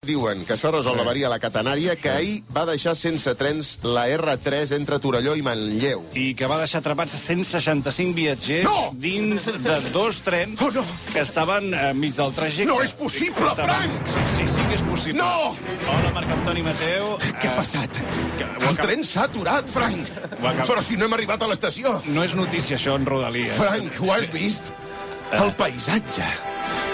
Diuen que s'ha resolt la varia a la catenària que ahir va deixar sense trens la R3 entre Torelló i Manlleu. i que va deixar atrapats 165 viatgers No! dins de dos trens Oh, no. que estaven eh, mig del trajecte. No és possible, Que estaven- Sí, sí que és possible. No! Hola, Marc Antoni Mateu. Què ha Eh, passat? que ho El acaba- tren s'ha aturat, Frank. acaba- Però si no hem arribat a l'estació. Eh, No és notícia, això, en Rodalies. Frank, ho has vist? Eh. El paisatge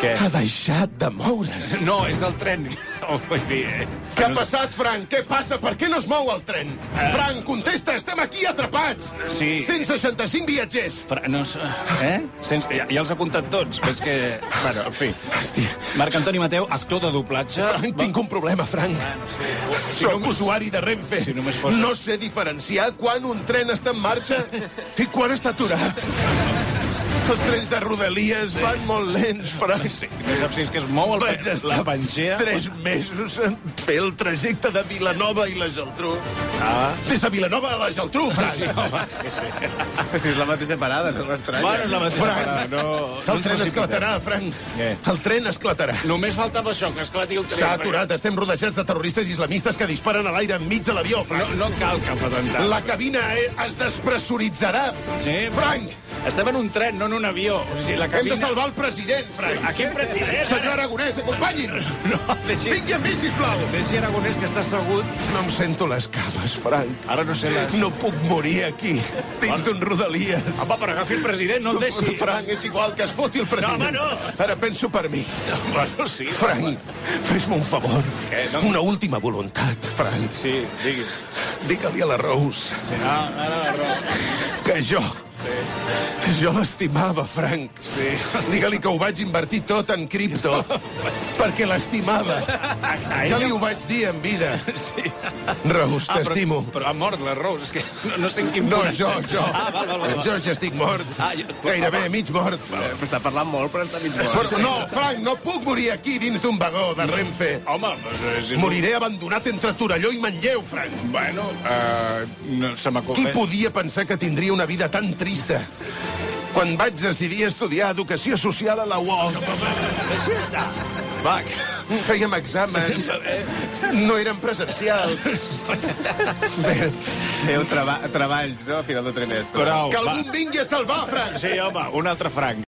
Què? ha deixat de moure's. No, és el tren. Oh, vull dir... eh, Què ha passat, Frank? Què passa? Per què no es mou el tren? Frank, contesta, estem aquí atrapats! Eh. Sí. 165 viatgers! Fra... No, s- eh? Sense... Ja, ja els ha comptat tots. És que... Bueno, en fi. Hòstia, Marc Antoni Mateu, actor de doblatge... Frank, tinc un problema, Frank. Sóc usuari de Renfe. si només fos- No sé diferenciar quan un tren està en marxa i quan està aturat. Els trens de Rodalies van molt lents, Frank. Sí, no saps si és que es mou el... Vaig pe- estar la pangea... tres mesos en fer el trajecte de Vilanova i la Geltrú. Ah. Des de Vilanova a la Geltrú, Frank. Sí, home, sí, sí. Si és la mateixa parada, no m'estranya. Bueno, és la mateixa Frank, parada, no... no El ens tren precipitem. esclatarà, Frank. Què? El tren esclatarà. Només faltava això, que esclati el tren. S'ha aturat, estem rodejats de terroristes islamistes que disparen a l'aire enmig de l'avió, No, Frank. no cal cap atemptat. La cabina eh, es despressuritzarà. Sí? Frank, Estem en un tren, no en un avió. O sigui, la hem cabina... de salvar el president, Frank. A quin president? Senyor Aragonès, acompanyin. No, deixi... Vingui amb mi, sisplau. Deixi Aragonès, que està assegut. No em sento les cames, Frank. Ara no sé les... No puc morir aquí, dins d'un rodalies. Home, però agafi el president, no el deixi. Frank, és igual que es foti el president. No, home, no. Ara penso per mi. Bueno, sí. Frank, fes-me un favor. Què, no? Una última voluntat, Frank. Sí, digui. Digue-li a la Rose Sí, ah, ara la raó. que jo... Sí. Jo l'estimava, Frank. Sí. Digue-li que ho vaig invertir tot en cripto, perquè l'estimava. Ja li ho vaig dir en vida. Sí. Ah, Rose, t'estimo. Però, però ha mort la Rose, és que no, no sé en quin No, punt jo, estem. jo. Ah, val, val, val. Jo ja estic mort. Ah, jo- Gairebé mig mort. Està parlant molt, però està mig mort. Però no, Frank, no puc morir aquí dins d'un vagó de Renfe. Home, doncs és... Moriré abandonat entre Torelló i Manlleu, Frank. Bueno, uh, no, se m'acut... Qui podia pensar que tindria una vida tan trista? Quan vaig decidir estudiar Educació Social a la UOC, Així està. Va, que- fèiem exàmens, Eh, no eren presencials. Bé, Feu traba treballs, no?, a final de trimestre. prou. que va. algú em vingui a salvar, Frank! Sí, home, un altre franc.